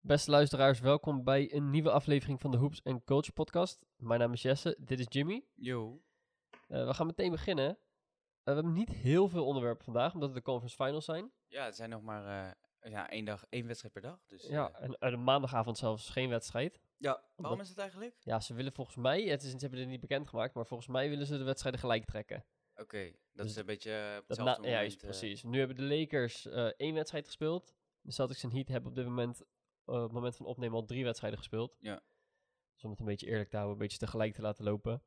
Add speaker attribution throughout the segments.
Speaker 1: Beste luisteraars, welkom bij een nieuwe aflevering van de Hoops Coach podcast. Mijn naam is Jesse, dit is Jimmy.
Speaker 2: Yo.
Speaker 1: Eh, we gaan meteen beginnen. Eh, we hebben niet heel veel onderwerpen vandaag, omdat het de conference finals zijn.
Speaker 2: Ja, het zijn nog maar eh, ja, één, dag, één wedstrijd per dag. Dus,
Speaker 1: Ja,
Speaker 2: eh,
Speaker 1: en eh, de maandagavond zelfs geen wedstrijd.
Speaker 2: ja.
Speaker 1: Omdat-
Speaker 2: Waarom is het eigenlijk?
Speaker 1: Ja, ze willen volgens mij, het is, ze hebben het niet bekendgemaakt, maar volgens mij willen ze de wedstrijden gelijk trekken.
Speaker 2: Oké, dat
Speaker 1: Dus
Speaker 2: is een beetje eh, op
Speaker 1: Dat
Speaker 2: hetzelfde
Speaker 1: na- ja,
Speaker 2: moment,
Speaker 1: is
Speaker 2: eh,
Speaker 1: precies. Nu hebben de Lakers eh, één wedstrijd gespeeld. De Celtics en Heat hebben op dit moment, eh, op het moment van opnemen, al drie wedstrijden gespeeld.
Speaker 2: Ja.
Speaker 1: Dus om het een beetje eerlijk te houden, een beetje tegelijk te laten lopen.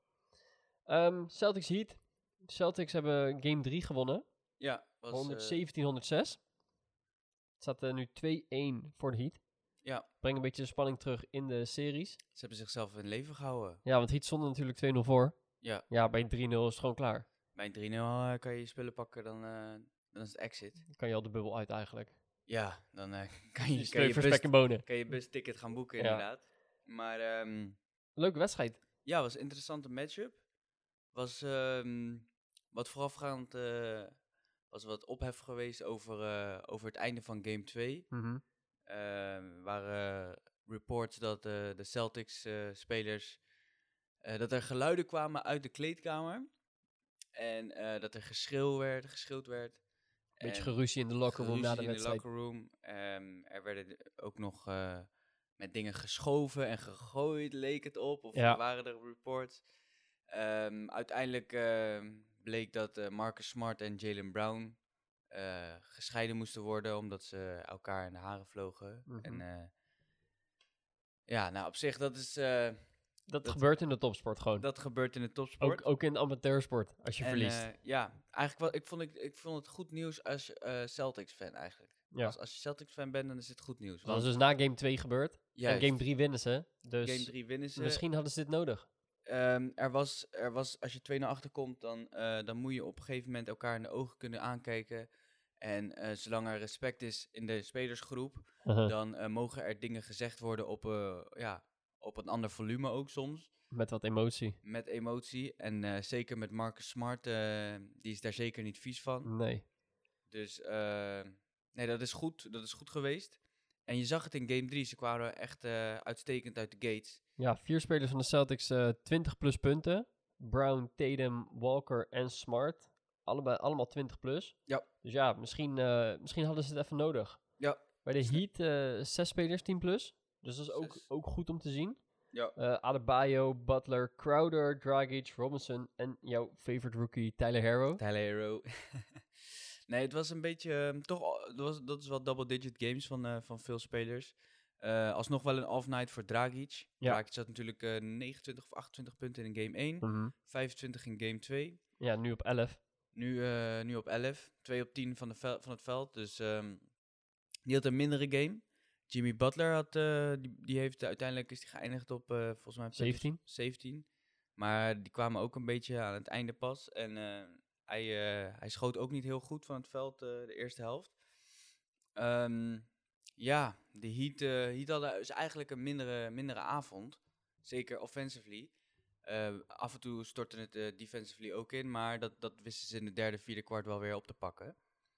Speaker 1: Ehm, Celtics Heat. Celtics hebben game 3 gewonnen.
Speaker 2: ja, was, eh,
Speaker 1: 117-106. Het staat eh, nu 2-1 voor de Heat.
Speaker 2: Ja.
Speaker 1: Breng een beetje de spanning terug in de series.
Speaker 2: ze hebben zichzelf in leven gehouden.
Speaker 1: Ja, want Heat stonden natuurlijk 2-0 voor.
Speaker 2: Ja.
Speaker 1: Ja, bij 3-0 is het gewoon klaar.
Speaker 2: Bij een 3-0 eh, kan je je spullen pakken, dan, eh, dan is het exit.
Speaker 1: Dan kan je al de bubbel uit eigenlijk.
Speaker 2: Ja, dan eh, kan,
Speaker 1: Dus
Speaker 2: je, kan, je
Speaker 1: Steun voor spek
Speaker 2: bus,
Speaker 1: en bonen.
Speaker 2: kan je busticket gaan boeken
Speaker 1: Ja.
Speaker 2: inderdaad. Maar ehm,
Speaker 1: Leuke wedstrijd.
Speaker 2: ja, was een interessante matchup. Was ehm, wat voorafgaand... eh, was wat ophef geweest over, eh, over het einde van game 2.
Speaker 1: Mhm.
Speaker 2: Ehm, waren reports dat eh, de Celtics-spelers. dat er geluiden kwamen uit de kleedkamer. En eh, dat er geschreeuw werd, geschreeuwd werd.
Speaker 1: Een beetje
Speaker 2: En
Speaker 1: geruzie in de locker room na de
Speaker 2: geruzie in
Speaker 1: wedstrijd.
Speaker 2: de locker room. Ehm, er werden ook nog eh, met dingen geschoven en gegooid, leek het op. Of
Speaker 1: Ja.
Speaker 2: er waren er reports. Ehm, uiteindelijk ehm, bleek dat eh, Marcus Smart en Jalen Brown eh, gescheiden moesten worden, omdat ze elkaar in de haren vlogen.
Speaker 1: Mhm.
Speaker 2: En eh, ja, nou op zich, dat, is, eh,
Speaker 1: dat,
Speaker 2: dat-
Speaker 1: gebeurt in de topsport gewoon.
Speaker 2: dat gebeurt in de topsport.
Speaker 1: Ook, ook in amateursport, als je
Speaker 2: En,
Speaker 1: verliest.
Speaker 2: eh, ja, eigenlijk wel, ik, vond ik, ik vond het goed nieuws als je, eh, Celtics-fan eigenlijk.
Speaker 1: Ja.
Speaker 2: Als, als je Celtics-fan bent, dan is het goed nieuws.
Speaker 1: dat
Speaker 2: Want
Speaker 1: is dus na game 2 gebeurd.
Speaker 2: juist,
Speaker 1: En game 3 winnen ze. Dus
Speaker 2: game 3 winnen ze.
Speaker 1: misschien hadden ze dit nodig.
Speaker 2: Ehm, er, was, er was, als je 2 naar achter komt, dan, eh, dan moet je op een gegeven moment elkaar in de ogen kunnen aankijken. En eh, zolang er respect is in de spelersgroep,
Speaker 1: Haha.
Speaker 2: dan eh, mogen er dingen gezegd worden op, eh, ja, op een ander volume ook soms.
Speaker 1: Met wat emotie.
Speaker 2: Met emotie. En eh, zeker met Marcus Smart, eh, die is daar zeker niet vies van.
Speaker 1: Nee.
Speaker 2: Dus eh, nee, dat is goed. Dat is goed geweest. En je zag het in game 3. Ze kwamen echt eh, uitstekend uit de gates.
Speaker 1: Ja, vier spelers van de Celtics eh 20 plus punten. Brown, Tatum, Walker en Smart. Allebei, allemaal 20 plus.
Speaker 2: Ja.
Speaker 1: Dus ja, misschien, eh, misschien hadden ze het even nodig.
Speaker 2: Ja.
Speaker 1: Bij de Heat eh zes spelers 10 plus. Dus dat is ook,
Speaker 2: Zes.
Speaker 1: ook goed om te zien.
Speaker 2: Ja.
Speaker 1: Eh, Adebayo, Butler, Crowder, Dragic, Robinson en jouw favorite rookie Tyler Harrow.
Speaker 2: Tyler Hero. nee, het was een beetje... ehm, toch, al- dat, was, dat is wel double-digit games van, eh, van veel spelers. Eh, alsnog wel een off-night voor Dragic.
Speaker 1: Ja.
Speaker 2: Dragic had natuurlijk eh, 29 of 28 punten in game 1. 25 in game 2.
Speaker 1: Ja, nu op 11.
Speaker 2: Nu, eh, nu op 11. 2 op 10 van, de vel- van het veld. Dus ehm, die had een mindere game. Jimmy Butler had, eh, die, die heeft uiteindelijk is die geëindigd op eh, volgens mij punten
Speaker 1: 17.
Speaker 2: 17. Maar die kwamen ook een beetje aan het einde pas. En eh, hij, eh, hij schoot ook niet heel goed van het veld eh, de eerste helft. Ehm, ja, de Heat, eh Heat hadden dus eigenlijk een mindere, mindere avond. Zeker offensively. Eh, af en toe stortte het eh, defensively ook in. Maar dat, dat wisten ze in de derde, vierde kwart wel weer op te pakken.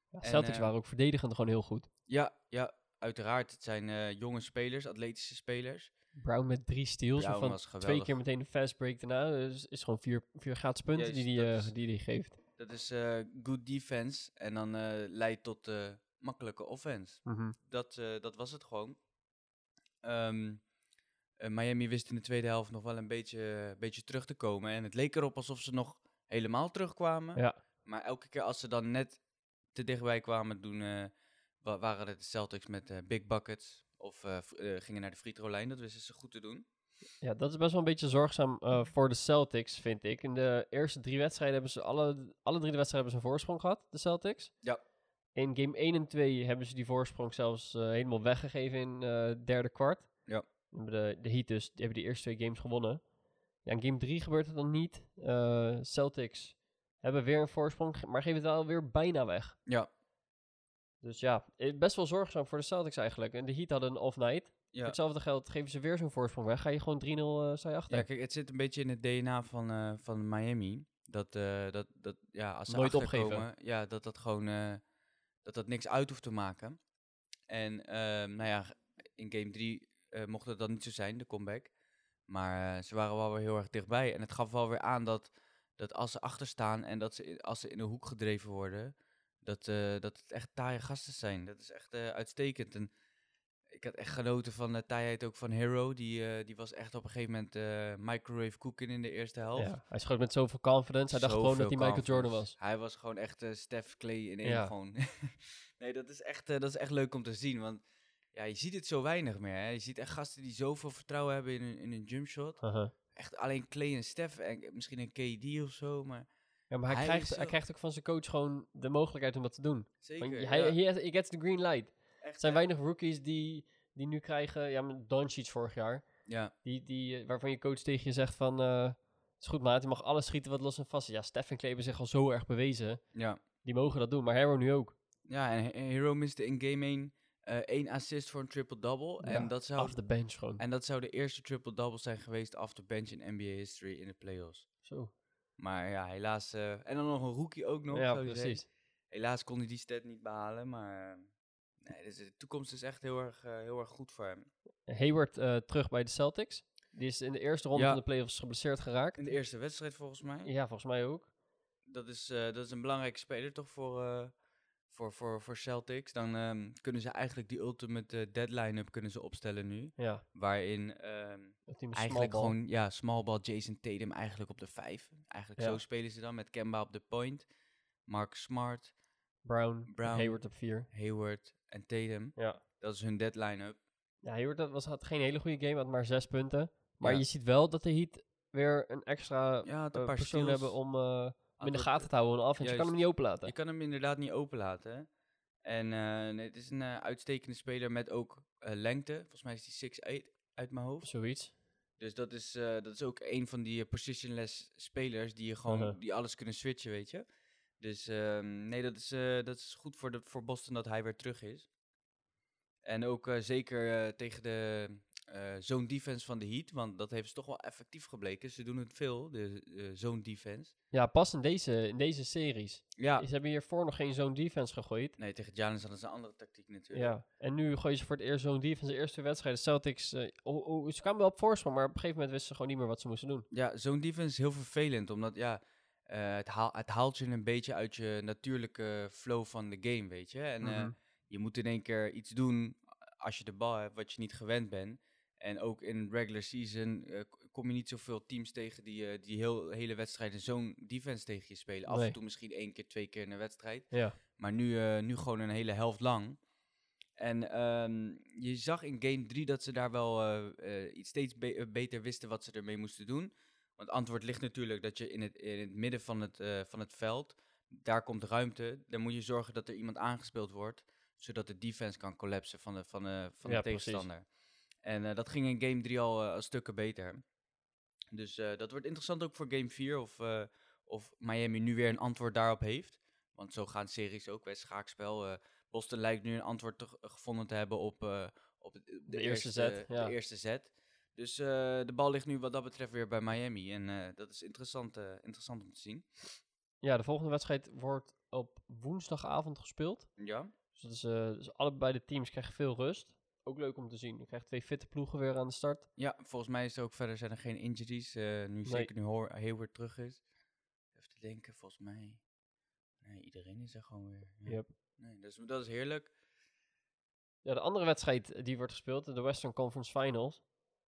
Speaker 1: Ja,
Speaker 2: En,
Speaker 1: Celtics
Speaker 2: eh,
Speaker 1: waren ook verdedigend gewoon heel goed.
Speaker 2: Ja, ja uiteraard. Het zijn eh, jonge spelers, atletische spelers.
Speaker 1: Brown met drie steals,
Speaker 2: Brown
Speaker 1: waarvan
Speaker 2: was
Speaker 1: twee
Speaker 2: geweldig.
Speaker 1: keer meteen een fast break daarna. Dus is gewoon vier, vier graadspunten
Speaker 2: Juist,
Speaker 1: die
Speaker 2: dat
Speaker 1: hij
Speaker 2: is-
Speaker 1: die die geeft.
Speaker 2: Dat is eh, good defense en dan eh, leidt tot eh, makkelijke offense. Dat, eh, dat was het gewoon. Ehm, eh, Miami wist in de tweede helft nog wel een beetje, beetje terug te komen. En het leek erop alsof ze nog helemaal terugkwamen.
Speaker 1: Ja.
Speaker 2: Maar elke keer als ze dan net te dichtbij kwamen, doen, eh, wa- waren het de Celtics met eh, big buckets. Of eh, v- eh, gingen naar de frietrolijn. Dat wisten ze goed te doen.
Speaker 1: ja, dat is best wel een beetje zorgzaam eh, voor de Celtics, vind ik. In de eerste drie wedstrijden hebben ze alle, alle drie de wedstrijden hebben ze een voorsprong gehad, de Celtics.
Speaker 2: Ja.
Speaker 1: In game 1 en 2 hebben ze die voorsprong zelfs eh, helemaal weggegeven in eh, het derde kwart.
Speaker 2: Ja.
Speaker 1: Dan hebben De, de Heat dus, die hebben die eerste twee games gewonnen. Ja, in game 3 gebeurt het dan niet. Eh, Celtics hebben weer een voorsprong, ge- maar geven het wel weer bijna weg.
Speaker 2: Ja.
Speaker 1: Dus ja, eh, best wel zorgzaam voor de Celtics eigenlijk. En de Heat hadden een off-night.
Speaker 2: Ja.
Speaker 1: Voor hetzelfde geld geven ze weer zo'n voorsprong weg. Ga je gewoon 3-0 eh sta je achter.
Speaker 2: Ja, kijk, het zit een beetje in het DNA van, eh, van Miami. Dat, eh, dat, dat, ja, als ze
Speaker 1: Nooit
Speaker 2: achterkomen,
Speaker 1: opgeven.
Speaker 2: Ja, dat dat gewoon, eh, dat dat niks uit hoeft te maken. En, ehm, nou ja, in game 3 eh, mocht het dan niet zo zijn, de comeback. Maar eh, ze waren wel weer heel erg dichtbij. En het gaf wel weer aan dat, dat als ze achterstaan en dat ze, in- als ze in de hoek gedreven worden, dat, eh, dat het echt taaie gasten zijn. Dat is echt eh, uitstekend. En ik had echt genoten van de taaiheid ook van Hero. Die, eh, die was echt op een gegeven moment eh, microwave cooking in de eerste helft.
Speaker 1: Ja, hij schoot met zoveel confidence. Hij dacht gewoon dat hij
Speaker 2: Zoveel
Speaker 1: Michael Jordan
Speaker 2: confidence.
Speaker 1: was.
Speaker 2: Hij was gewoon echt eh, Steph Clay in één
Speaker 1: Ja.
Speaker 2: gewoon. nee, dat is, echt, eh, dat is echt leuk om te zien. Want ja, je ziet het zo weinig meer. Hè. Je ziet echt gasten die zoveel vertrouwen hebben in hun, in hun jumpshot.
Speaker 1: Aha.
Speaker 2: Echt alleen Clay en Steph en misschien een KD of zo. Maar
Speaker 1: Ja, maar hij,
Speaker 2: Hij
Speaker 1: krijgt,
Speaker 2: is
Speaker 1: hij
Speaker 2: zo-
Speaker 1: krijgt ook van zijn coach gewoon de mogelijkheid om dat te doen.
Speaker 2: zeker.
Speaker 1: Want hij
Speaker 2: eh, ja,
Speaker 1: he, has- he gets the green light.
Speaker 2: echt,
Speaker 1: Er zijn
Speaker 2: eh,
Speaker 1: weinig rookies die, die nu krijgen... Ja, maar Doncic vorig jaar.
Speaker 2: Ja,
Speaker 1: Die, die, eh, waarvan je coach tegen je zegt van... eh, het is goed, maat. Je mag alles schieten wat los en vast is. Ja, Steph en Clay hebben zich al zo erg bewezen.
Speaker 2: ja.
Speaker 1: Die mogen dat doen. Maar Hero nu ook.
Speaker 2: ja, en He- Hero miste in game 1 één assist voor een triple-double.
Speaker 1: Ja,
Speaker 2: en, dat zou,
Speaker 1: Af de bench gewoon.
Speaker 2: Nou. en dat zou de eerste triple-double zijn geweest af de bench in NBA history in de playoffs.
Speaker 1: Zo.
Speaker 2: Maar ja, helaas. eh, en dan nog een rookie ook nog.
Speaker 1: Ja,
Speaker 2: zou je zeggen.
Speaker 1: precies.
Speaker 2: Helaas kon hij die stat niet behalen, maar eh, nee, dus de toekomst is echt heel erg, eh, heel erg goed voor hem.
Speaker 1: Hayward eh, terug bij de Celtics. Die is in de eerste ronde
Speaker 2: Ja.
Speaker 1: van de playoffs geblesseerd geraakt.
Speaker 2: In de eerste wedstrijd volgens mij.
Speaker 1: Ja, volgens mij ook.
Speaker 2: Dat, is, eh, dat is een belangrijke speler toch voor, eh, voor, voor, voor Celtics. Dan ehm, kunnen ze eigenlijk die ultimate eh, deadline up kunnen ze opstellen nu.
Speaker 1: Ja,
Speaker 2: Waarin ehm,
Speaker 1: het team is
Speaker 2: eigenlijk
Speaker 1: small ball.
Speaker 2: gewoon, ja, small ball Jason Tatum eigenlijk op de vijf. Eigenlijk
Speaker 1: Ja.
Speaker 2: zo spelen ze dan met Kemba op de point. Mark Smart,
Speaker 1: Brown,
Speaker 2: Brown.
Speaker 1: Hayward op 4.
Speaker 2: Hayward en Tatum.
Speaker 1: Ja.
Speaker 2: Dat is hun deadline up.
Speaker 1: Ja, Hayward dat was, had geen hele goede game, had maar 6 punten. Maar
Speaker 2: Ja.
Speaker 1: je ziet wel dat de Heat weer een extra
Speaker 2: Ja, had een
Speaker 1: eh,
Speaker 2: paar
Speaker 1: persoon
Speaker 2: steals.
Speaker 1: hebben om, eh, om in de
Speaker 2: Had wat-
Speaker 1: gaten te houden. Af en je kan hem
Speaker 2: Juist.
Speaker 1: niet openlaten.
Speaker 2: Je kan hem inderdaad niet openlaten. hè. En eh, nee, het is een eh, uitstekende speler met ook eh, lengte. Volgens mij is hij 6'8 uit mijn hoofd.
Speaker 1: Zoiets.
Speaker 2: Dus dat is, eh, dat is ook een van die eh, positionless spelers die je gewoon
Speaker 1: Aha.
Speaker 2: die alles kunnen switchen, weet je. Dus ehm, nee, dat is, eh, dat is goed voor, de, voor Boston dat hij weer terug is. En ook eh, zeker eh, tegen de eh zone defense van de Heat, want dat heeft ze toch wel effectief gebleken. Ze doen het veel, de eh, zone defense.
Speaker 1: Ja, pas in deze, in deze series.
Speaker 2: Ja,
Speaker 1: Ze hebben hiervoor nog geen zo'n defense gegooid.
Speaker 2: nee, tegen Giannis hadden ze een andere tactiek natuurlijk.
Speaker 1: Ja, en nu gooien ze voor het eerst zo'n defense. De eerste wedstrijd, de Celtics, eh, oh, oh, ze kwamen wel op voorsprong, maar op een gegeven moment wisten ze gewoon niet meer wat ze moesten doen.
Speaker 2: Ja, zo'n defense is heel vervelend, omdat ja, eh, het, haal, het haalt je een beetje uit je natuurlijke flow van de game, weet je. En eh,
Speaker 1: Mhm.
Speaker 2: je moet in één keer iets doen eh, als je de bal hebt, wat je niet gewend bent. En ook in regular season eh, k- kom je niet zoveel teams tegen die, eh, die heel, hele wedstrijden zo'n defense tegen je spelen. Af
Speaker 1: Nee.
Speaker 2: en toe misschien één keer, twee keer in een wedstrijd.
Speaker 1: Ja,
Speaker 2: Maar nu, eh, nu gewoon een hele helft lang. En ehm, je zag in game 3 dat ze daar wel eh, eh, iets steeds be- eh, beter wisten wat ze ermee moesten doen. Want het antwoord ligt natuurlijk dat je in het, in het midden van het, eh, van het veld, daar komt ruimte. Dan moet je zorgen dat er iemand aangespeeld wordt, zodat de defense kan collapsen van de, van de, van de
Speaker 1: Ja, precies.
Speaker 2: tegenstander. En eh, dat ging in game 3 al eh, al stukken beter. Dus eh, dat wordt interessant ook voor game 4 of, eh, of Miami nu weer een antwoord daarop heeft. Want zo gaan series ook bij schaakspel. eh, Boston lijkt nu een antwoord te- gevonden te hebben op, eh, op het- de,
Speaker 1: eerste zet, ja.
Speaker 2: De eerste zet. Dus eh, de bal ligt nu wat dat betreft weer bij Miami. En eh, dat is interessant, eh, interessant om te zien.
Speaker 1: ja de volgende wedstrijd wordt op woensdagavond gespeeld.
Speaker 2: Ja,
Speaker 1: Dus, dat is, eh, dus allebei de teams krijgen veel rust. Ook leuk om te zien. Je krijgt twee fitte ploegen weer aan de start.
Speaker 2: ja volgens mij is er ook verder zijn er geen injuries. eh, nu zeker nu Ho- Hayward terug is. Even te denken, volgens mij. Nee, iedereen is er gewoon weer. Ja.
Speaker 1: Yep.
Speaker 2: Nee, dus dat is heerlijk.
Speaker 1: Ja, de andere wedstrijd eh, die wordt gespeeld, de Western Conference Finals.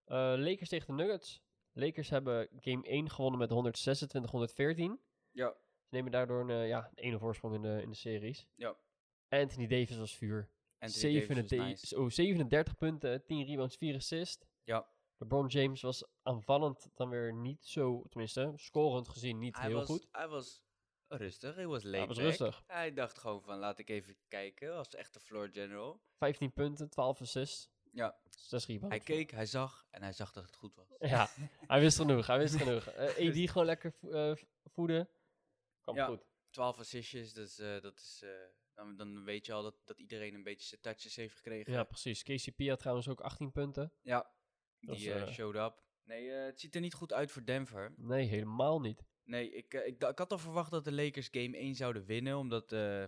Speaker 1: Eh, Lakers tegen de Nuggets. Lakers hebben game 1 gewonnen met 126-114.
Speaker 2: Ja,
Speaker 1: Ze nemen daardoor een, eh, ja, een 1-0 voorsprong in de, in de series.
Speaker 2: ja.
Speaker 1: Anthony Davis was vuur.
Speaker 2: Anthony Davis was
Speaker 1: 37
Speaker 2: nice.
Speaker 1: oh, 37 punten, 10 rebounds, 4 assists.
Speaker 2: Ja.
Speaker 1: LeBron James was aanvallend dan weer niet zo, tenminste, scorend gezien niet
Speaker 2: Hij
Speaker 1: heel
Speaker 2: was,
Speaker 1: goed.
Speaker 2: Hij was rustig, hij was laid
Speaker 1: Hij was
Speaker 2: back.
Speaker 1: rustig.
Speaker 2: Hij dacht gewoon van, laat ik even kijken. Hij was echt de floor general.
Speaker 1: 15 punten, 12 assists, Dus
Speaker 2: Ja,
Speaker 1: 6 rebounds.
Speaker 2: hij keek, hij zag en hij zag dat het goed was.
Speaker 1: Ja, hij wist genoeg, hij wist genoeg. Eh AD gewoon lekker vo- eh, voeden. Kwam
Speaker 2: Ja.
Speaker 1: goed.
Speaker 2: 12 assistjes, dus eh, dat is... eh, dan, dan weet je al dat, dat iedereen een beetje zijn touches heeft gekregen.
Speaker 1: Ja, precies. KCP had trouwens ook 18 punten.
Speaker 2: Ja,
Speaker 1: Dat
Speaker 2: die
Speaker 1: is,
Speaker 2: eh,
Speaker 1: eh,
Speaker 2: showed up. Nee, eh, het ziet er niet goed uit voor Denver.
Speaker 1: Nee, helemaal niet.
Speaker 2: Nee, ik, eh, ik, da- ik had al verwacht dat de Lakers game 1 zouden winnen, omdat eh,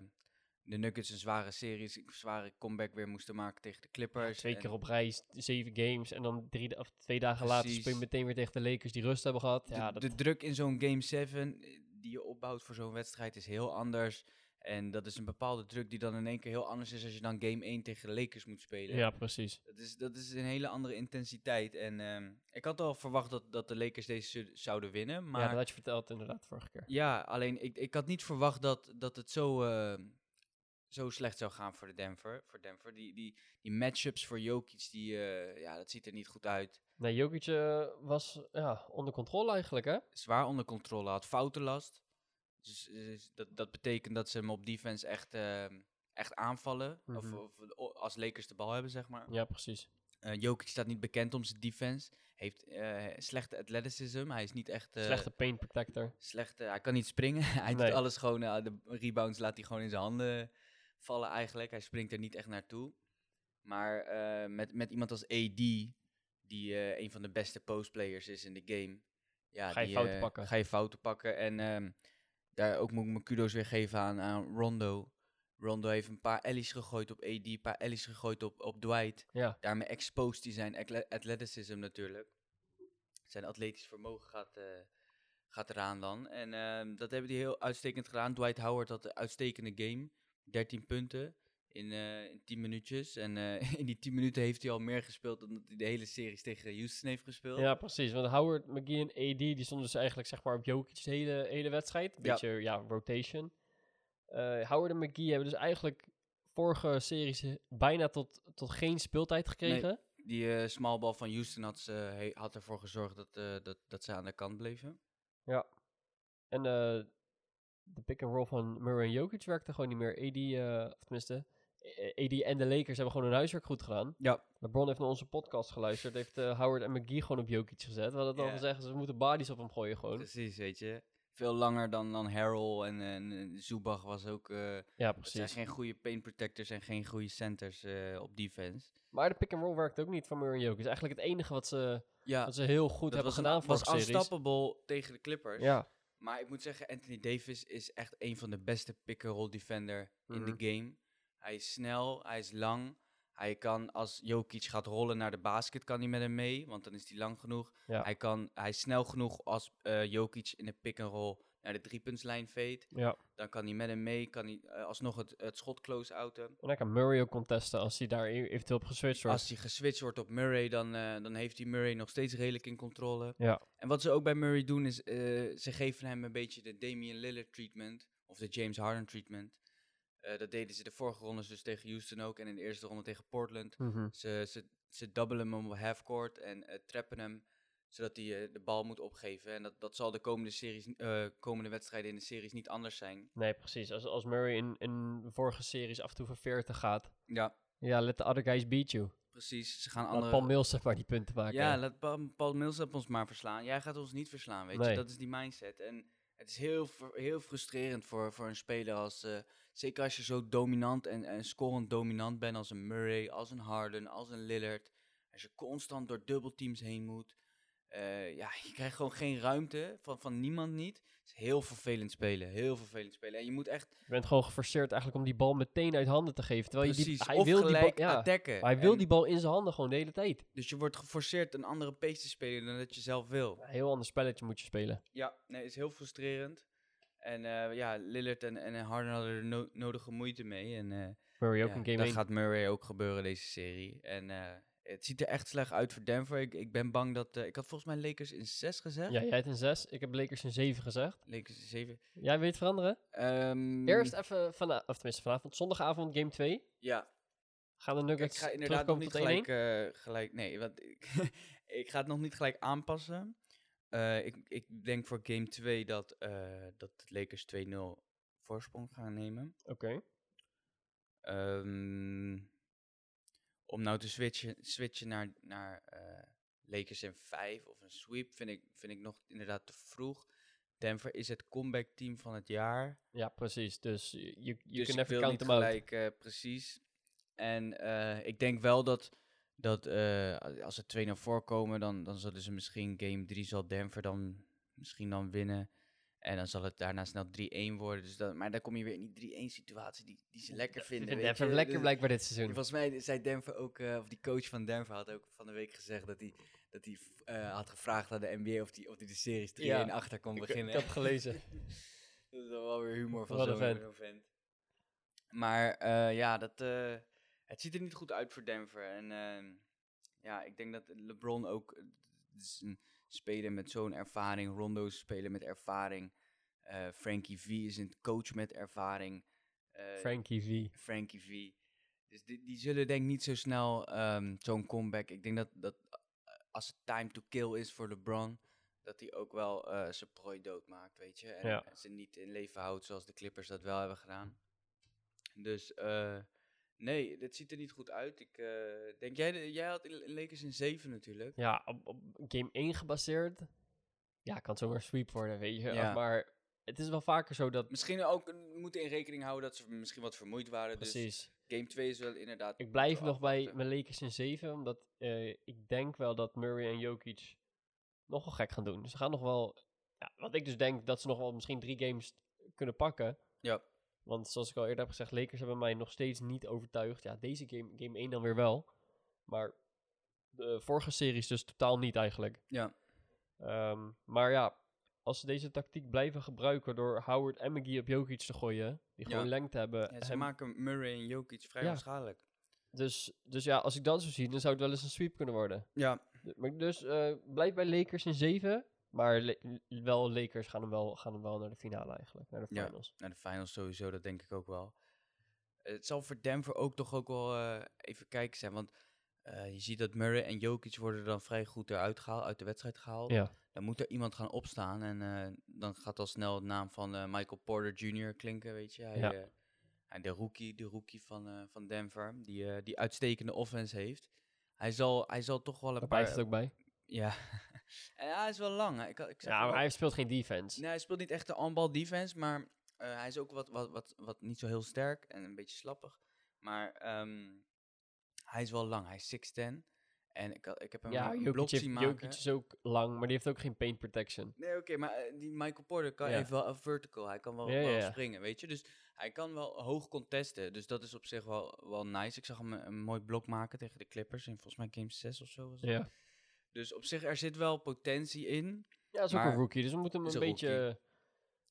Speaker 2: de Nuggets een zware series, een zware comeback weer moesten maken tegen de Clippers.
Speaker 1: Twee
Speaker 2: Dus, en-
Speaker 1: keer op rij, s- zeven games. En dan drie, da- of twee dagen later
Speaker 2: Precies.
Speaker 1: speel je meteen weer tegen de Lakers die rust hebben gehad.
Speaker 2: de,
Speaker 1: ja, dat,
Speaker 2: de druk in zo'n Game 7 die je opbouwt voor zo'n wedstrijd is heel anders. En dat is een bepaalde druk die dan in één keer heel anders is als je dan Game 1 tegen de Lakers moet spelen.
Speaker 1: ja, precies.
Speaker 2: Dat, is, dat is een hele andere intensiteit. En ehm, ik had al verwacht dat, dat de Lakers deze zu- zouden winnen. Maar
Speaker 1: ja, dat had je verteld inderdaad vorige keer.
Speaker 2: ja, alleen ik, ik had niet verwacht dat, dat het zo, eh, zo slecht zou gaan voor de Denver. Voor Denver. Die, die, die matchups voor Jokic, die, eh, ja, dat ziet er niet goed uit.
Speaker 1: Nee, Jokic eh, was ja, onder controle eigenlijk, hè?
Speaker 2: Zwaar onder controle, had foutenlast. Dus, dus dat, dat betekent dat ze hem op defense echt, eh, echt aanvallen. Of-
Speaker 1: Mhm.
Speaker 2: Of, o- als Lakers de bal hebben, zeg maar.
Speaker 1: Ja, precies.
Speaker 2: Eh Jokic staat niet bekend om zijn defense. Heeft eh, slechte athleticism. Hij is niet echt... eh,
Speaker 1: Slechte paint protector.
Speaker 2: slechte. Hij kan niet springen. hij
Speaker 1: Nee.
Speaker 2: doet alles gewoon. eh, de rebounds laat hij gewoon in zijn handen vallen eigenlijk. Hij springt er niet echt naartoe. Maar eh, met, met iemand als AD, die eh, een van de beste postplayers is in de game. Ja,
Speaker 1: Ga je
Speaker 2: die,
Speaker 1: fouten
Speaker 2: eh,
Speaker 1: pakken.
Speaker 2: Ga je fouten pakken. En ehm, daar ook moet ik mijn kudo's weer geven aan, aan Rondo. Rondo heeft een paar ellies gegooid op AD, een paar ellies gegooid op, op Dwight.
Speaker 1: Ja.
Speaker 2: Daarmee exposed hij zijn atle- athleticism natuurlijk. Zijn atletisch vermogen gaat, eh, gaat eraan dan. En ehm, dat hebben die heel uitstekend gedaan. Dwight Howard had een uitstekende game. 13 punten in, eh, in 10 minuutjes. En eh, in die 10 minuten heeft hij al meer gespeeld dan dat hij de hele series tegen Houston heeft gespeeld.
Speaker 1: ja, precies. Want Howard, McGee en AD, die stonden dus eigenlijk zeg maar op Jokic de hele, hele wedstrijd. Een
Speaker 2: Ja.
Speaker 1: beetje, ja, rotation. Eh, Howard en McGee hebben dus eigenlijk vorige series bijna tot, tot geen speeltijd gekregen.
Speaker 2: Die eh, smalbal van Houston had, ze, he- had ervoor gezorgd dat, eh, dat, dat ze aan de kant bleven.
Speaker 1: En eh, de pick-and-roll van Murray en Jokic werkte gewoon niet meer. AD, eh, of tenminste, eh, AD en de Lakers hebben gewoon hun huiswerk goed gedaan.
Speaker 2: Ja,
Speaker 1: LeBron heeft naar onze podcast geluisterd. Heeft eh, Howard en McGee gewoon op Jokic gezet. We hadden het
Speaker 2: Ja.
Speaker 1: al gezegd, ze moeten bodies op hem gooien gewoon.
Speaker 2: precies, weet je. Veel langer dan, dan Harrell en, eh, en, en Zubach was ook... eh,
Speaker 1: ja,
Speaker 2: Het zijn geen goede paint protectors en geen goede centers eh, op defense.
Speaker 1: Maar de pick-and-roll werkt ook niet van Murray en Jokic. is eigenlijk het enige wat ze,
Speaker 2: Ja,
Speaker 1: wat ze heel goed hebben
Speaker 2: was, een-
Speaker 1: gedaan voor
Speaker 2: was
Speaker 1: de series.
Speaker 2: unstoppable tegen de Clippers.
Speaker 1: Ja,
Speaker 2: Maar ik moet zeggen, Anthony Davis is echt een van de beste pick-and-roll defender in
Speaker 1: Mhm.
Speaker 2: de game. Hij is snel, hij is lang. Hij kan, als Jokic gaat rollen naar de basket, kan hij met hem mee, want dan is hij lang genoeg.
Speaker 1: Ja.
Speaker 2: Hij, kan, hij is snel genoeg als eh, Jokic in de pick-and-roll naar de driepuntslijn veet.
Speaker 1: ja.
Speaker 2: Dan kan hij met hem mee, kan hij eh, alsnog het, het schot close-outen.
Speaker 1: En dan kan Murray ook contesten als hij daar e- eventueel op geswitcht wordt.
Speaker 2: Als hij geswitcht wordt op Murray, dan, eh, dan heeft hij Murray nog steeds redelijk in controle.
Speaker 1: Ja.
Speaker 2: En wat ze ook bij Murray doen, is eh, ze geven hem een beetje de Damian Lillard treatment. Of de James Harden treatment. Eh, dat deden ze de vorige rondes dus tegen Houston ook. En in de eerste ronde tegen Portland.
Speaker 1: Mhm.
Speaker 2: Ze, ze, ze dubbelen hem op halfcourt en eh, trappen hem. Zodat hij eh, de bal moet opgeven. En dat, dat zal de komende, series, eh, komende wedstrijden in de series niet anders zijn.
Speaker 1: Nee, precies. Als, als Murray in, in de vorige series af en toe voor 40 gaat.
Speaker 2: Ja,
Speaker 1: Ja, let the other guys beat you.
Speaker 2: precies. Ze gaan
Speaker 1: Laat
Speaker 2: andere...
Speaker 1: Paul Mills zeg maar die punten maken.
Speaker 2: Ja, laat Pa- Paul Millsap ons maar verslaan. Jij gaat ons niet verslaan, weet je.
Speaker 1: Nee.
Speaker 2: Dat is die mindset. En het is heel, fr- heel frustrerend voor, voor een speler als... eh, zeker als je zo dominant en, en scorend dominant bent als een Murray, als een Harden, als een Lillard. Als je constant door dubbelteams heen moet. Eh, ja, je krijgt gewoon geen ruimte van, van niemand niet. Het is heel vervelend spelen, heel vervelend spelen. En je moet echt
Speaker 1: Je bent gewoon geforceerd eigenlijk om die bal meteen uit handen te geven. Terwijl je
Speaker 2: precies
Speaker 1: die, hij
Speaker 2: of
Speaker 1: wil die bal,
Speaker 2: gelijk
Speaker 1: ja,
Speaker 2: attacken.
Speaker 1: maar hij wil
Speaker 2: En-
Speaker 1: die bal in zijn handen gewoon de hele tijd.
Speaker 2: Dus je wordt geforceerd een andere pace te spelen dan dat je zelf wil.
Speaker 1: Een heel ander spelletje moet je spelen.
Speaker 2: Ja, nee, is heel frustrerend. En eh, ja, Lillard en, en Harden hadden er no- nodige moeite mee. En eh,
Speaker 1: Murray ook
Speaker 2: ja,
Speaker 1: een game
Speaker 2: dat
Speaker 1: één.
Speaker 2: gaat Murray ook gebeuren deze serie. En eh, het ziet er echt slecht uit voor Denver. Ik, ik ben bang dat... eh, ik had volgens mij Lakers in 6 gezegd.
Speaker 1: Ja, jij hebt een 6. Ik heb Lakers een 7 gezegd.
Speaker 2: Lakers in 7.
Speaker 1: Jij weet veranderen?
Speaker 2: Ehm,
Speaker 1: Eerst even vanavond, of tenminste vanavond, zondagavond game 2.
Speaker 2: Ja,
Speaker 1: Gaan de
Speaker 2: ik
Speaker 1: Nuggets
Speaker 2: ga inderdaad nog
Speaker 1: terugkomen
Speaker 2: niet
Speaker 1: tot 1-1?
Speaker 2: gelijk, eh, gelijk... Nee, want ik, ik ga het nog niet gelijk aanpassen. Eh, ik, ik denk voor game 2 dat, eh dat de Lakers 2-0 voorsprong gaan nemen.
Speaker 1: Oké.
Speaker 2: Ehm, om nou te switchen, switchen naar, naar eh, Lakers in 5 of een sweep vind ik, vind ik nog inderdaad te vroeg. Denver is het comeback team van het jaar.
Speaker 1: Ja, precies. Dus je- je je
Speaker 2: dus
Speaker 1: kunt
Speaker 2: ik
Speaker 1: even
Speaker 2: wil
Speaker 1: count
Speaker 2: niet
Speaker 1: them out.
Speaker 2: gelijk, eh, precies. En eh, ik denk wel dat, dat eh, a- als er 2 naar voorkomen, dan, dan zullen ze misschien game 3 zal Denver dan misschien dan winnen. En dan zal het daarna snel 3-1 worden. Dus dan, maar dan kom je weer in die 3-1 situatie die, die ze lekker
Speaker 1: Ik
Speaker 2: vinden.
Speaker 1: vind
Speaker 2: weet
Speaker 1: het even
Speaker 2: je.
Speaker 1: lekker
Speaker 2: Dus-
Speaker 1: blijkbaar dit seizoen.
Speaker 2: Volgens mij zei Denver ook, eh, of die coach van Denver had ook van de week gezegd dat hij dat hij, eh, had gevraagd aan de NBA of die, of die de series 3-1
Speaker 1: Ja.
Speaker 2: achter kon
Speaker 1: Ik,
Speaker 2: beginnen.
Speaker 1: ik heb gelezen.
Speaker 2: Dat is dan wel weer humor van
Speaker 1: Wat een
Speaker 2: zo'n
Speaker 1: vent.
Speaker 2: zo'n vent. Maar eh, ja, dat, eh, het ziet er niet goed uit voor Denver. En eh, ja, ik denk dat LeBron ook eh, het is een speler met zo'n ervaring. Rondo is spelen met ervaring. Eh, Frankie V is een coach met ervaring. Eh,
Speaker 1: Frankie V.
Speaker 2: Frankie V. Dus die, die zullen denk ik niet zo snel ehm, zo'n comeback. Ik denk dat, dat eh, als het time to kill is voor LeBron, dat hij ook wel eh, zijn prooi doodmaakt, weet je. En
Speaker 1: Ja.
Speaker 2: ze niet in leven houdt zoals de Clippers dat wel hebben gedaan. Dus eh, nee, dit ziet er niet goed uit. Ik eh, denk, jij, jij had in- in Lakers in 7 natuurlijk.
Speaker 1: Ja, op, op game 1 gebaseerd. Ja, kan zomaar sweep worden, weet je.
Speaker 2: Ja.
Speaker 1: Maar het is wel vaker zo dat...
Speaker 2: Misschien ook eh, moeten in rekening houden dat ze misschien wat vermoeid waren. Dus
Speaker 1: Precies.
Speaker 2: game 2 is wel inderdaad...
Speaker 1: Ik blijf
Speaker 2: te
Speaker 1: nog bij
Speaker 2: afwachten.
Speaker 1: mijn Lakers in 7, omdat eh, ik denk wel dat Murray en Jokic nogal gek gaan doen. Ze gaan nog wel, ja, wat ik dus denk, dat ze nog wel misschien drie games kunnen pakken.
Speaker 2: Ja.
Speaker 1: Want zoals ik al eerder heb gezegd, Lakers hebben mij nog steeds niet overtuigd. Ja, deze game, game 1 dan weer wel. Maar de vorige series dus totaal niet eigenlijk.
Speaker 2: Ja.
Speaker 1: Ehm, maar ja, als ze deze tactiek blijven gebruiken door Howard en McGee op Jokic te gooien, die gewoon
Speaker 2: Ja.
Speaker 1: lengte hebben.
Speaker 2: Ja, ze
Speaker 1: hem-
Speaker 2: maken Murray en Jokic vrij
Speaker 1: ehm, Ja.
Speaker 2: onschadelijk.
Speaker 1: dus, dus ja, als ik dat zo zie, dan zou het wel eens een sweep kunnen worden.
Speaker 2: Ja,
Speaker 1: D- Maar dus eh, blijf bij Lakers in 7. Maar Le- l- wel Lakers gaan hem wel, gaan hem wel naar de finale eigenlijk. Naar de
Speaker 2: Ja.
Speaker 1: finals.
Speaker 2: naar de finals sowieso, dat denk ik ook wel. Het zal voor Denver ook toch ook wel eh, even kijken zijn. Want eh, je ziet dat Murray en Jokic worden dan vrij goed eruit gehaald, uit de wedstrijd gehaald.
Speaker 1: Ja.
Speaker 2: Dan moet er iemand gaan opstaan. En eh, dan gaat al snel de naam van eh, Michael Porter Jr. klinken, weet je. Hij,
Speaker 1: Ja.
Speaker 2: eh, hij- de rookie, de rookie van, eh, van Denver, die, eh, die uitstekende offense heeft. Hij zal, hij zal toch wel een
Speaker 1: Daar blijft
Speaker 2: paar...
Speaker 1: het ook bij.
Speaker 2: Ja. en hij is wel lang. hè. Ik, ik zag
Speaker 1: Ja,
Speaker 2: wel-
Speaker 1: maar hij speelt geen defense.
Speaker 2: Nee, hij speelt niet echt de on-ball defense, maar eh, hij is ook wat, wat, wat, wat niet zo heel sterk en een beetje slappig. Maar ehm, hij is wel lang, hij is 6'10. En ik, had- ik heb hem
Speaker 1: ja,
Speaker 2: een blok
Speaker 1: Jokic, heeft,
Speaker 2: zien maken.
Speaker 1: Jokic is ook lang, maar die heeft ook geen paint protection.
Speaker 2: Nee, oké, maar eh, die Michael Porter kan,
Speaker 1: Ja.
Speaker 2: heeft wel een vertical. Hij kan wel,
Speaker 1: Ja, ja,
Speaker 2: wel
Speaker 1: ja.
Speaker 2: springen, weet je. Dus hij kan wel hoog contesten. Dus dat is op zich wel, wel nice. Ik zag hem eh, een, een mooi blok maken tegen de Clippers in volgens mij game 6 of zo. Was het.
Speaker 1: Ja.
Speaker 2: Dus op zich, er zit wel potentie in.
Speaker 1: Ja, dat is ook
Speaker 2: Maar-
Speaker 1: een rookie. Dus we moeten hem
Speaker 2: is
Speaker 1: een
Speaker 2: een
Speaker 1: beetje,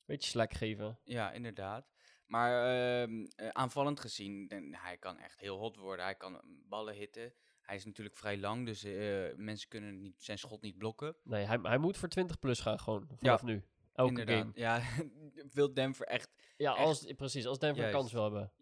Speaker 1: beetje slack geven.
Speaker 2: Ja, inderdaad. Maar ehm, eh, aanvallend gezien, dan- hij kan echt heel hot worden. Hij kan mm, ballen hitten. Hij is natuurlijk vrij lang, dus eh, mensen kunnen niet, zijn schot niet blokken.
Speaker 1: Nee, hij, hij moet voor 20 plus gaan gewoon. Vanaf nu. Elke
Speaker 2: inderdaad.
Speaker 1: game.
Speaker 2: Ja, wil Denver echt.
Speaker 1: Ja,
Speaker 2: Echt.
Speaker 1: als, precies. Als Denver
Speaker 2: Juist.
Speaker 1: kans wil hebben.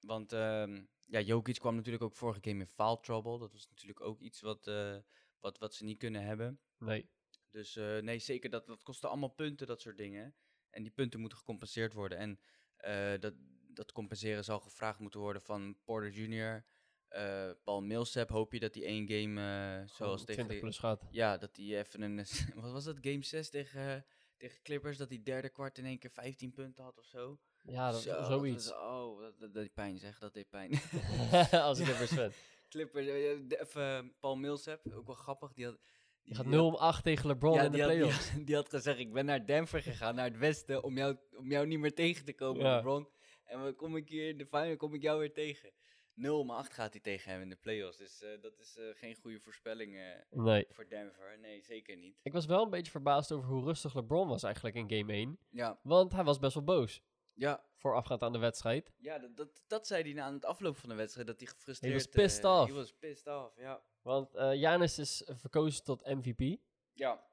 Speaker 2: Want ehm, ja, Jokic kwam natuurlijk ook vorige game in foul trouble. Dat was natuurlijk ook iets wat, eh, wat, wat ze niet kunnen hebben.
Speaker 1: Nee.
Speaker 2: Dus eh, nee, zeker, dat, dat kostte allemaal punten, dat soort dingen. En die punten moeten gecompenseerd worden. En eh, dat, dat compenseren zal gevraagd moeten worden van Porter Jr., eh, Paul Millsap. Hoop je dat die één game, eh, zoals
Speaker 1: Zoals
Speaker 2: tegen...
Speaker 1: 20
Speaker 2: die-
Speaker 1: Oh, plus gaat.
Speaker 2: Ja, dat die even een... wat was dat, game 6 tegen, eh, tegen Clippers? Dat die derde kwart in één keer 15 punten had of zo?
Speaker 1: Ja, dat,
Speaker 2: Zo, dat
Speaker 1: zoiets.
Speaker 2: was- oh, dat, dat deed pijn zeg, dat deed pijn.
Speaker 1: als ik
Speaker 2: Ja.
Speaker 1: het verzet.
Speaker 2: Clippers, eh, eh, de- even, eh, Paul Millsap, ook wel grappig. Die had,
Speaker 1: Je
Speaker 2: die-
Speaker 1: gaat
Speaker 2: die had-
Speaker 1: 0 om 8 tegen LeBron in de
Speaker 2: die had, die,
Speaker 1: playoffs.
Speaker 2: had, die had gezegd, ik ben naar Denver gegaan, naar het westen, om jou, om jou niet meer tegen te komen,
Speaker 1: Ja.
Speaker 2: LeBron. En dan kom ik hier in de final, kom ik jou weer tegen. 0 maar 8 gaat hij tegen hem in de playoffs. Dus eh, dat is eh, geen goede voorspelling eh,
Speaker 1: Nee.
Speaker 2: voor Denver. Nee, zeker niet.
Speaker 1: Ik was wel een beetje verbaasd over hoe rustig LeBron was eigenlijk in game 1.
Speaker 2: Ja,
Speaker 1: Want hij was best wel boos.
Speaker 2: ja,
Speaker 1: Voorafgaand aan de wedstrijd.
Speaker 2: ja dat, dat, dat zei hij na aan het afloop van de wedstrijd, dat hij gefrustreerd...
Speaker 1: He was pissed
Speaker 2: eh,
Speaker 1: off.
Speaker 2: He was pissed off, ja.
Speaker 1: Want eh Giannis is verkozen tot MVP.
Speaker 2: Ja,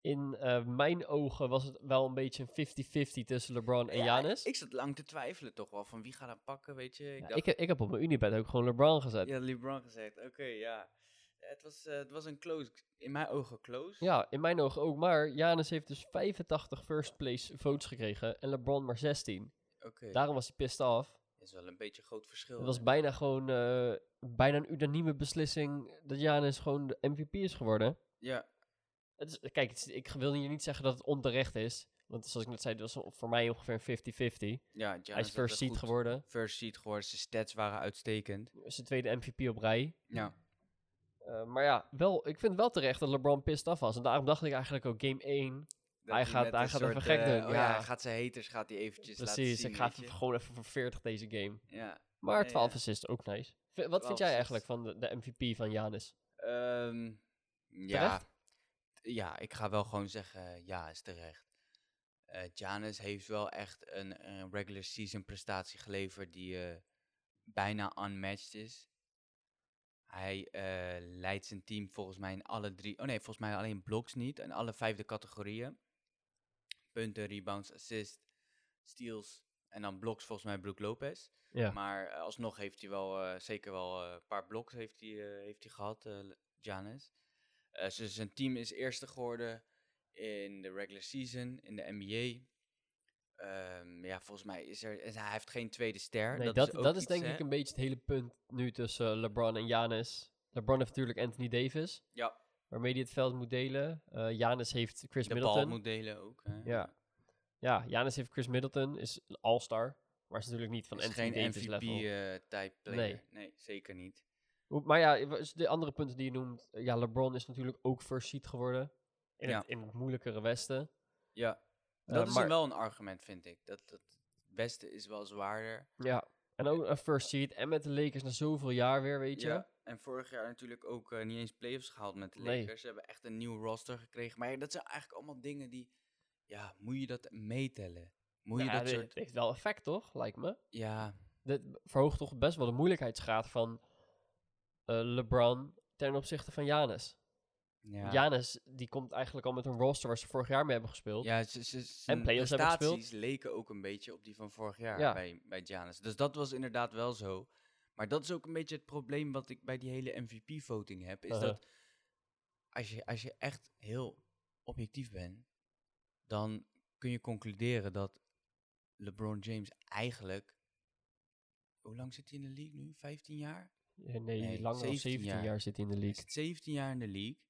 Speaker 1: In eh, mijn ogen was het wel een beetje een 50-50 tussen LeBron en
Speaker 2: Ja,
Speaker 1: Giannis.
Speaker 2: ik zat lang te twijfelen toch wel, van wie gaat hem pakken, weet je. Ik
Speaker 1: Ja,
Speaker 2: dacht,
Speaker 1: ik, heb- ik heb op mijn unibed ook gewoon LeBron gezet. Ja,
Speaker 2: ja, LeBron gezegd, oké, ja. Het was, eh, het was een close, in mijn ogen close.
Speaker 1: in mijn ogen ook. Maar Giannis heeft dus 85 first place votes gekregen en LeBron maar 16.
Speaker 2: Oké.
Speaker 1: Daarom was hij pissed af.
Speaker 2: Dat is wel een beetje een groot verschil.
Speaker 1: Het was
Speaker 2: hè?
Speaker 1: bijna gewoon eh, bijna een unanieme beslissing dat Giannis gewoon de MVP is geworden.
Speaker 2: Ja,
Speaker 1: Het is, kijk, het is- ik wil hier niet zeggen dat het onterecht is. Want zoals ik net zei, het was voor mij ongeveer een 50-50.
Speaker 2: ja
Speaker 1: Hij is first seed geworden.
Speaker 2: First seed geworden, zijn stats waren uitstekend.
Speaker 1: Zijn tweede MVP op rij.
Speaker 2: Ja.
Speaker 1: Eh, maar ja, wel, ik vind wel terecht dat LeBron pissed af was. En daarom dacht ik eigenlijk ook game 1.
Speaker 2: Dat
Speaker 1: Hij gaat-
Speaker 2: met
Speaker 1: hij
Speaker 2: een
Speaker 1: gaat even
Speaker 2: soort,
Speaker 1: gek
Speaker 2: eh,
Speaker 1: doen,
Speaker 2: oh
Speaker 1: ja.
Speaker 2: hij gaat zijn haters gaat hij eventjes laten
Speaker 1: Precies,
Speaker 2: zien.
Speaker 1: ik ga
Speaker 2: weet
Speaker 1: even-
Speaker 2: je.
Speaker 1: gewoon even voor 40 deze game.
Speaker 2: Ja.
Speaker 1: Maar
Speaker 2: Ja,
Speaker 1: 12
Speaker 2: ja.
Speaker 1: assists, ook nice. V- wat
Speaker 2: 12
Speaker 1: vind jij
Speaker 2: assists.
Speaker 1: eigenlijk van de, de MVP van Janis?
Speaker 2: Ehm, ja.
Speaker 1: Terecht?
Speaker 2: ja, ik ga wel gewoon zeggen, ja, is terecht. Eh Giannis heeft wel echt een, een regular season prestatie geleverd die eh, bijna unmatched is. Hij eh, leidt zijn team volgens mij in alle drie, oh nee, volgens mij alleen blocks niet, in alle vijfde categorieën. Punten, rebounds, assists, steals en dan blocks volgens mij Brook Lopez.
Speaker 1: Ja.
Speaker 2: Maar eh, alsnog heeft hij wel, eh, zeker wel eh, een paar bloks heeft hij, eh, heeft hij gehad, eh Giannis. Eh, z- zijn team is eerste geworden in de regular season, in de NBA. Ehm, ja, volgens mij is er... en hij heeft geen tweede ster.
Speaker 1: nee, dat,
Speaker 2: is, ook
Speaker 1: dat is
Speaker 2: iets,
Speaker 1: denk
Speaker 2: hè?
Speaker 1: ik een beetje het hele punt nu tussen eh, LeBron en Janis. LeBron heeft natuurlijk Anthony Davis,
Speaker 2: Ja,
Speaker 1: waarmee hij het veld moet delen. Eh Janis heeft Chris
Speaker 2: de
Speaker 1: Middleton.
Speaker 2: bal moet delen ook. Hè?
Speaker 1: Ja. Ja, Janis heeft Chris Middleton, is een all-star. Maar is natuurlijk niet van
Speaker 2: Is
Speaker 1: Anthony
Speaker 2: geen
Speaker 1: Davis level.
Speaker 2: MVP-type eh, player.
Speaker 1: Nee.
Speaker 2: Nee. zeker niet.
Speaker 1: Hoe- Maar ja, i- is de andere punten die je noemt. eh, Ja, LeBron is natuurlijk ook first seed geworden. In,
Speaker 2: Ja.
Speaker 1: het, in het moeilijkere Westen.
Speaker 2: Ja,
Speaker 1: Eh,
Speaker 2: dat is
Speaker 1: maar-
Speaker 2: wel een argument, vind ik. Dat, dat het beste is wel zwaarder.
Speaker 1: Ja. En ook een first seed. En met de Lakers na zoveel jaar weer, weet je.
Speaker 2: Ja, en vorig jaar natuurlijk ook eh, niet eens playoffs gehaald met de
Speaker 1: Nee.
Speaker 2: Lakers. Ze hebben echt een nieuw roster gekregen. Maar ja, dat zijn eigenlijk allemaal dingen die... Ja, moet je dat meetellen? Moet je
Speaker 1: Nou ja,
Speaker 2: dat
Speaker 1: dit-
Speaker 2: soort...
Speaker 1: dit heeft wel effect, toch? Lijkt me.
Speaker 2: Ja,
Speaker 1: Dit b- verhoogt toch best wel de moeilijkheidsgraad van eh, LeBron ten opzichte van Janis.
Speaker 2: ja.
Speaker 1: Janis, die komt eigenlijk al met een roster waar ze vorig jaar mee hebben gespeeld.
Speaker 2: Ja, ze, ze, zijn
Speaker 1: playoffs hebben gespeeld.
Speaker 2: prestaties leken ook een beetje op die van vorig jaar
Speaker 1: Ja.
Speaker 2: bij, bij Giannis. Dus dat was inderdaad wel zo. Maar dat is ook een beetje het probleem wat ik bij die hele MVP-voting heb. Is
Speaker 1: Uh-huh.
Speaker 2: dat als je, als je echt heel objectief bent, dan kun je concluderen dat LeBron James eigenlijk... Hoe lang zit hij in de league nu? 15 jaar?
Speaker 1: Eh, Nee,
Speaker 2: Nee,
Speaker 1: langer dan
Speaker 2: 17
Speaker 1: 17 jaar.
Speaker 2: jaar
Speaker 1: zit hij in de
Speaker 2: Hij
Speaker 1: league.
Speaker 2: zit 17 jaar in de league.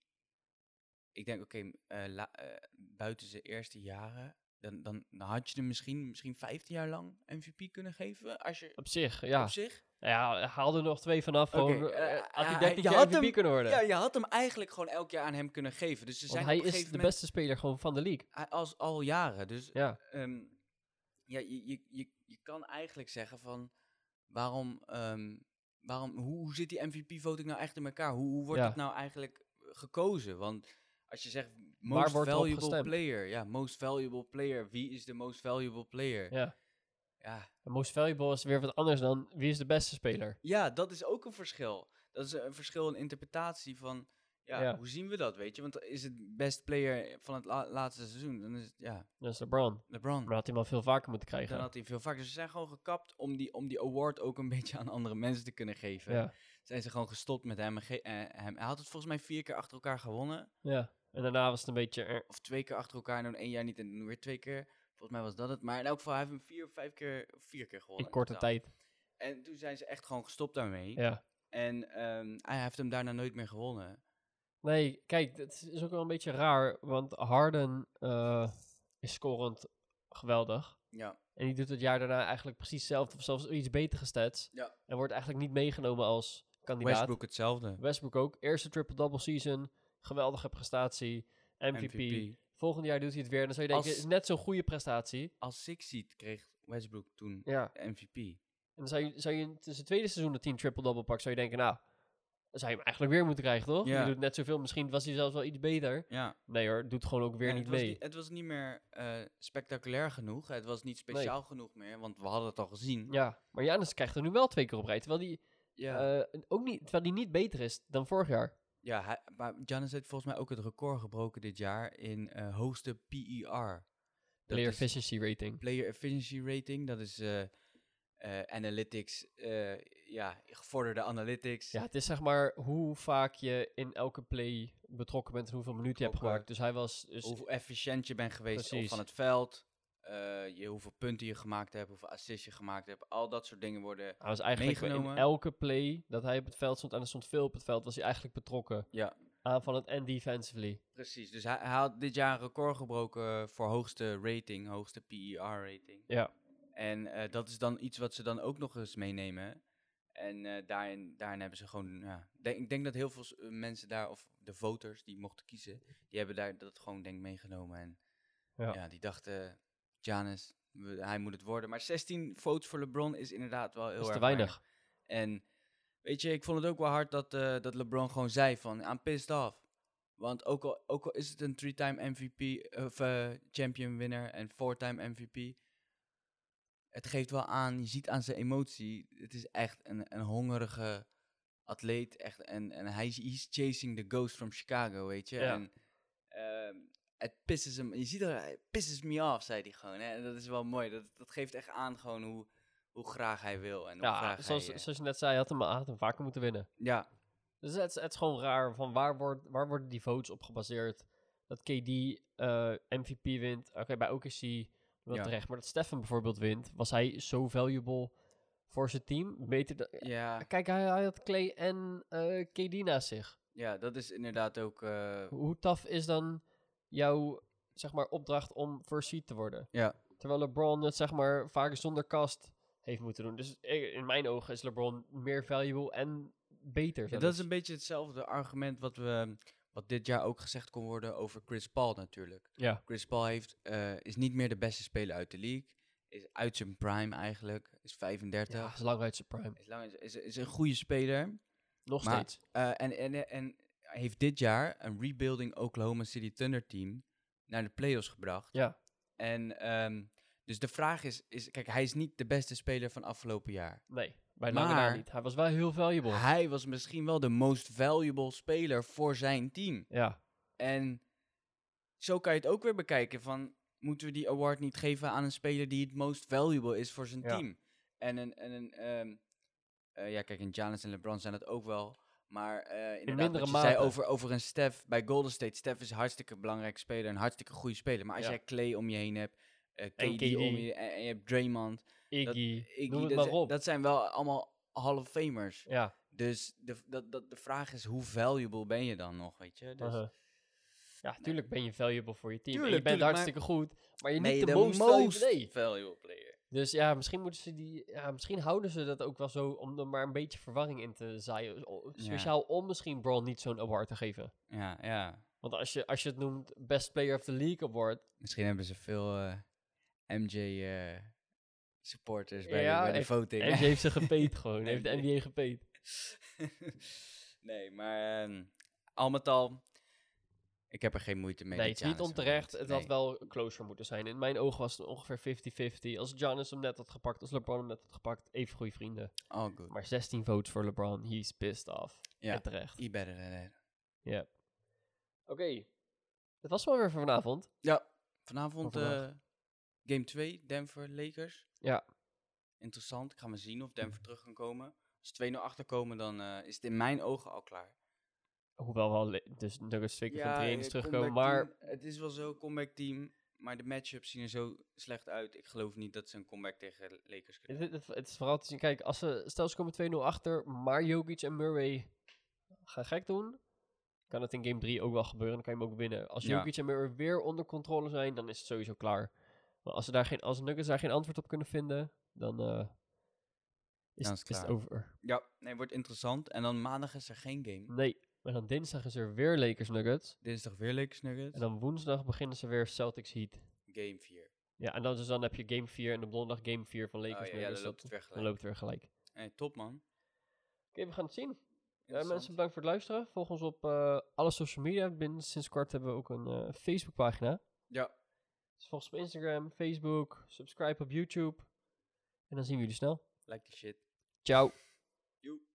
Speaker 2: Ik denk, oké, m- eh, la- eh, buiten zijn eerste jaren, dan, dan, dan had je hem misschien, misschien 15 jaar lang MVP kunnen geven. Als je
Speaker 1: Op zich, ja.
Speaker 2: op zich.
Speaker 1: Ja, hij haalde er nog twee vanaf.
Speaker 2: Oké,
Speaker 1: gewoon,
Speaker 2: eh,
Speaker 1: eh, had hij
Speaker 2: hij-
Speaker 1: 13
Speaker 2: je
Speaker 1: keer
Speaker 2: had
Speaker 1: MVP
Speaker 2: hem-
Speaker 1: kunnen worden.
Speaker 2: Ja, je had hem eigenlijk gewoon elk jaar aan hem kunnen geven. Dus ze zijn
Speaker 1: Want
Speaker 2: op
Speaker 1: hij
Speaker 2: een
Speaker 1: is de
Speaker 2: gegeven moment-
Speaker 1: beste speler gewoon van de league.
Speaker 2: hij- als al jaren. Dus
Speaker 1: Ja.
Speaker 2: ehm, ja, je, je, je, je kan eigenlijk zeggen van waarom, ehm, waarom hoe, hoe zit die MVP-voting nou echt in elkaar? Hoe, hoe wordt
Speaker 1: Ja.
Speaker 2: dat nou eigenlijk gekozen? Want als je zegt
Speaker 1: Waar
Speaker 2: most
Speaker 1: wordt erop
Speaker 2: valuable
Speaker 1: gestemd?
Speaker 2: player, ja, most valuable player, wie is de most valuable player? Ja.
Speaker 1: Ja.
Speaker 2: Ja,
Speaker 1: En Most valuable is weer wat anders dan wie is de beste speler.
Speaker 2: dat is ook een verschil. Dat is een verschil in interpretatie van ja,
Speaker 1: Ja.
Speaker 2: hoe zien we dat, weet je? Want is het best player van het la- laatste seizoen, dan is het ja,
Speaker 1: Dat is LeBron.
Speaker 2: LeBron.
Speaker 1: Maar dat had hij wel veel vaker moeten krijgen.
Speaker 2: Dan had hij veel vaker. Ze zijn gewoon gekapt om die, om die award ook een beetje aan andere mensen te kunnen geven.
Speaker 1: ja.
Speaker 2: Zijn ze gewoon gestopt met hem, en ge- eh, hem. Hij had het volgens mij vier keer achter elkaar gewonnen.
Speaker 1: ja. En daarna was het een beetje... eh,
Speaker 2: Of twee keer achter elkaar en dan één jaar niet en dan weer twee keer. Volgens mij was dat het. Maar in elk geval, hij heeft hem vier of vijf keer, vier keer gewonnen.
Speaker 1: in korte
Speaker 2: totaal.
Speaker 1: tijd.
Speaker 2: En toen zijn ze echt gewoon gestopt daarmee.
Speaker 1: Ja.
Speaker 2: En ehm, hij heeft hem daarna nooit meer gewonnen.
Speaker 1: Nee, kijk, dat is- is ook wel een beetje raar. Want Harden eh, is scorend geweldig.
Speaker 2: Ja,
Speaker 1: En die doet het jaar daarna eigenlijk precies hetzelfde. Of zelfs iets betere stats.
Speaker 2: Ja.
Speaker 1: En wordt eigenlijk niet meegenomen als kandidaat.
Speaker 2: Westbrook hetzelfde.
Speaker 1: Westbrook ook. Eerste triple-double season. Geweldige prestatie. MVP. Volgend jaar doet hij het weer. En dan zou je denken,
Speaker 2: Als-
Speaker 1: het is net zo'n goede prestatie.
Speaker 2: Als Six Seed kreeg Westbrook toen
Speaker 1: Ja.
Speaker 2: de MVP.
Speaker 1: En dan zou je, zou je tussen het tweede seizoen de 10 triple-double pakt, zou je denken, nou, dan zou je hem eigenlijk weer moeten krijgen, toch?
Speaker 2: Ja.
Speaker 1: Je doet net zoveel, misschien was hij zelfs wel iets beter.
Speaker 2: Ja.
Speaker 1: Nee hoor, doet gewoon ook weer
Speaker 2: En
Speaker 1: niet
Speaker 2: het was
Speaker 1: mee.
Speaker 2: niet- het was niet meer eh, spectaculair genoeg. Het was niet speciaal genoeg meer, want we hadden het al gezien.
Speaker 1: Ja, maar Janis krijgt er nu wel twee keer op rij, terwijl die,
Speaker 2: Ja,
Speaker 1: eh, ook niet, terwijl die niet beter is dan vorig jaar.
Speaker 2: ja hij, maar Giannis heeft volgens mij ook het record gebroken dit jaar in eh, hoogste PER. Dat
Speaker 1: Player
Speaker 2: is
Speaker 1: efficiency rating.
Speaker 2: player efficiency rating, dat is eh, eh, analytics, eh, ja, gevorderde analytics.
Speaker 1: Ja, het is zeg maar hoe vaak je in elke play betrokken bent en hoeveel minuten je hebt
Speaker 2: Betrokken.
Speaker 1: gemaakt. Dus hij was, dus,
Speaker 2: hoe efficiënt je bent geweest
Speaker 1: Precies.
Speaker 2: op van het veld, eh, je, hoeveel punten je gemaakt hebt, hoeveel assists je gemaakt hebt. Al dat soort dingen worden...
Speaker 1: hij was eigenlijk in
Speaker 2: meegenomen.
Speaker 1: elke play dat hij op het veld stond en er stond veel op het veld, was hij eigenlijk betrokken.
Speaker 2: Ja.
Speaker 1: Aanvallend en defensively.
Speaker 2: Precies, dus hij, hij had dit jaar een record gebroken voor hoogste rating, hoogste PER-rating.
Speaker 1: Ja.
Speaker 2: En eh, dat is dan iets wat ze dan ook nog eens meenemen. En eh, daarin, daarin hebben ze gewoon, ja, denk, ik denk dat heel veel s- eh, mensen daar, of de voters die mochten kiezen, die hebben daar dat gewoon denk ik meegenomen. En
Speaker 1: Ja.
Speaker 2: Ja, die dachten, Giannis, we- hij moet het worden. Maar 16 votes voor LeBron is inderdaad wel heel
Speaker 1: Dat is te
Speaker 2: erg
Speaker 1: weinig.
Speaker 2: En weet je, ik vond het ook wel hard dat, eh, dat LeBron gewoon zei van, I'm pissed off. Want ook al, ook al is het een three-time MVP, of eh, champion winner en four-time MVP, het geeft wel aan, je ziet aan zijn emotie, het is echt een, een hongerige atleet. Echt, en, en hij is he's chasing the ghost from Chicago, weet je.
Speaker 1: Ja.
Speaker 2: En ehm, het pisses hem, je ziet dat hij pisses me off, zei hij gewoon. Hè? En dat is wel mooi, dat, dat geeft echt aan gewoon hoe, hoe graag hij wil. En hoe
Speaker 1: Ja,
Speaker 2: graag
Speaker 1: zoals,
Speaker 2: hij, eh,
Speaker 1: zoals je net zei, hij had hem, hij had hem vaker moeten winnen.
Speaker 2: ja,
Speaker 1: Dus het, is- het is gewoon raar van waar, wordt, waar worden die votes op gebaseerd? Dat KD eh, MVP wint. Oké, bij OKC wel
Speaker 2: Ja.
Speaker 1: terecht. Maar dat Stefan bijvoorbeeld wint, was hij zo valuable voor zijn team. Beter dan-
Speaker 2: ja.
Speaker 1: Kijk, hij, hij had Clay en eh, KD naast zich.
Speaker 2: Ja, dat is inderdaad ook. eh,
Speaker 1: Hoe- Hoe taf is dan jouw zeg maar, opdracht om first seed te worden?
Speaker 2: ja,
Speaker 1: Terwijl LeBron het zeg maar vaak zonder kast heeft moeten doen. Dus eh, in mijn ogen is LeBron meer valuable en beter.
Speaker 2: Ja, dat
Speaker 1: zelfs.
Speaker 2: is een beetje hetzelfde argument wat we. Wat dit jaar ook gezegd kon worden over Chris Paul natuurlijk.
Speaker 1: Ja.
Speaker 2: Chris Paul heeft, eh, is niet meer de beste speler uit de league. Is uit zijn prime eigenlijk. Is 35.
Speaker 1: Ja, is lang uit zijn prime.
Speaker 2: Is, lang, is, is een goede speler.
Speaker 1: Nog
Speaker 2: Maar-
Speaker 1: steeds.
Speaker 2: Eh, en, en, en heeft dit jaar een rebuilding Oklahoma City Thunder team naar de playoffs gebracht.
Speaker 1: Ja.
Speaker 2: En ehm, dus de vraag is, is, kijk, hij is niet de beste speler van afgelopen jaar.
Speaker 1: Nee, bij lange na
Speaker 2: Maar-
Speaker 1: niet. Hij was wel heel valuable.
Speaker 2: Hij was misschien wel de most valuable speler voor zijn team.
Speaker 1: ja.
Speaker 2: En zo kan je het ook weer bekijken van... moeten we die award niet geven aan een speler die het most valuable is voor zijn
Speaker 1: Ja.
Speaker 2: team? En een... En een ehm, eh, ja, kijk, en Giannis en LeBron zijn dat ook wel. Maar eh inderdaad,
Speaker 1: mindere
Speaker 2: wat je zei
Speaker 1: mate.
Speaker 2: over, over een Stef bij Golden State. Stef is een hartstikke belangrijk speler, een hartstikke goede speler. Maar als
Speaker 1: Ja.
Speaker 2: jij Clay om je heen hebt, eh,
Speaker 1: En
Speaker 2: KD, om
Speaker 1: KD.
Speaker 2: je en, en je hebt Draymond.
Speaker 1: Iggy.
Speaker 2: Iggy,
Speaker 1: Noem het
Speaker 2: dat,
Speaker 1: maar
Speaker 2: zijn-
Speaker 1: op.
Speaker 2: dat zijn wel allemaal Hall of Famers.
Speaker 1: ja.
Speaker 2: Dus de, dat, dat, de vraag is, hoe valuable ben je dan nog, weet je? Dus,
Speaker 1: uh-huh. Ja, tuurlijk ben je valuable voor je team. En
Speaker 2: Tuurlijk,
Speaker 1: je bent
Speaker 2: tuurlijk,
Speaker 1: hartstikke goed, maar je
Speaker 2: Ben
Speaker 1: niet
Speaker 2: je
Speaker 1: de, most, valuable. nee.
Speaker 2: valuable player.
Speaker 1: Dus ja, misschien moeten ze die... Ja, misschien houden ze dat ook wel zo om er maar een beetje verwarring in te zaaien. O-
Speaker 2: Ja.
Speaker 1: Speciaal om misschien Braun niet zo'n award te geven.
Speaker 2: Ja, ja.
Speaker 1: Want als je, als je het noemt Best Player of the League Award...
Speaker 2: Misschien hebben ze veel eh, MJ eh, supporters bij,
Speaker 1: Ja,
Speaker 2: de, bij de
Speaker 1: heeft-
Speaker 2: voting.
Speaker 1: MJ heeft ze gepeet gewoon.
Speaker 2: Nee,
Speaker 1: Heeft de
Speaker 2: nee.
Speaker 1: NBA gepeet.
Speaker 2: nee, maar ehm, al met al, ik heb er geen moeite
Speaker 1: Nee,
Speaker 2: mee. dat
Speaker 1: het is niet
Speaker 2: Giannis hem
Speaker 1: onterecht.
Speaker 2: wint.
Speaker 1: Het
Speaker 2: Nee.
Speaker 1: had wel closer moeten zijn. In mijn ogen was het ongeveer 50-50. Als Giannis hem net had gepakt, als LeBron hem net had gepakt, even goede vrienden.
Speaker 2: All good.
Speaker 1: Maar 16 votes voor LeBron, he's pissed off.
Speaker 2: Ja.
Speaker 1: En terecht.
Speaker 2: You better than that.
Speaker 1: Oké, dat was wel weer voor vanavond.
Speaker 2: Ja, vanavond
Speaker 1: Voor vandaag.
Speaker 2: eh, game 2, Denver Lakers.
Speaker 1: Ja.
Speaker 2: Interessant. Ik ga maar zien of Denver terug kan komen. Als ze 2-0 achterkomen, dan eh, is het in mijn ogen al klaar.
Speaker 1: Hoewel wel, le- dus Nuggets twee keer van drie eens terugkomen. Maar
Speaker 2: eh, het is wel zo, comeback team. Maar de matchups zien er zo slecht uit. Ik geloof niet dat ze een comeback tegen de Lakers kunnen.
Speaker 1: het, het- het is vooral te zien, kijk, als ze, stel ze komen 2-0 achter, maar Jokic en Murray gaan gek doen, kan het in game 3 ook wel gebeuren. Dan kan je hem ook winnen. Als
Speaker 2: Ja.
Speaker 1: Jokic en Murray weer onder controle zijn, dan is het sowieso klaar. Maar als, ze daar geen, als Nuggets daar geen antwoord op kunnen vinden, dan eh, is,
Speaker 2: Dan
Speaker 1: het, is Hmm.
Speaker 2: is het
Speaker 1: het
Speaker 2: klaar.
Speaker 1: over.
Speaker 2: Ja, nee, wordt interessant. En dan maandag is er geen game.
Speaker 1: Nee. En dan dinsdag is er weer Lakers Nuggets.
Speaker 2: Dinsdag weer Lakers Nuggets.
Speaker 1: En dan woensdag beginnen ze weer Celtics Heat.
Speaker 2: Game 4.
Speaker 1: Ja, en dan, dus dan heb je game 4 en op donderdag game 4 van Lakers
Speaker 2: Oh, ja, ja,
Speaker 1: Nuggets.
Speaker 2: dan loopt het
Speaker 1: Dat- dan
Speaker 2: weer gelijk.
Speaker 1: loopt het weer gelijk. Oké,
Speaker 2: Hey, top man.
Speaker 1: we gaan het zien. Eh,
Speaker 2: Interessant.
Speaker 1: mensen, bedankt voor het luisteren. Volg ons op eh, alle social media. Binnen, sinds kort hebben we ook een eh, Facebookpagina.
Speaker 2: Ja,
Speaker 1: Dus volg ons op Instagram, Facebook, subscribe op YouTube. En dan zien we jullie snel.
Speaker 2: like the shit.
Speaker 1: Ciao.
Speaker 2: Joep.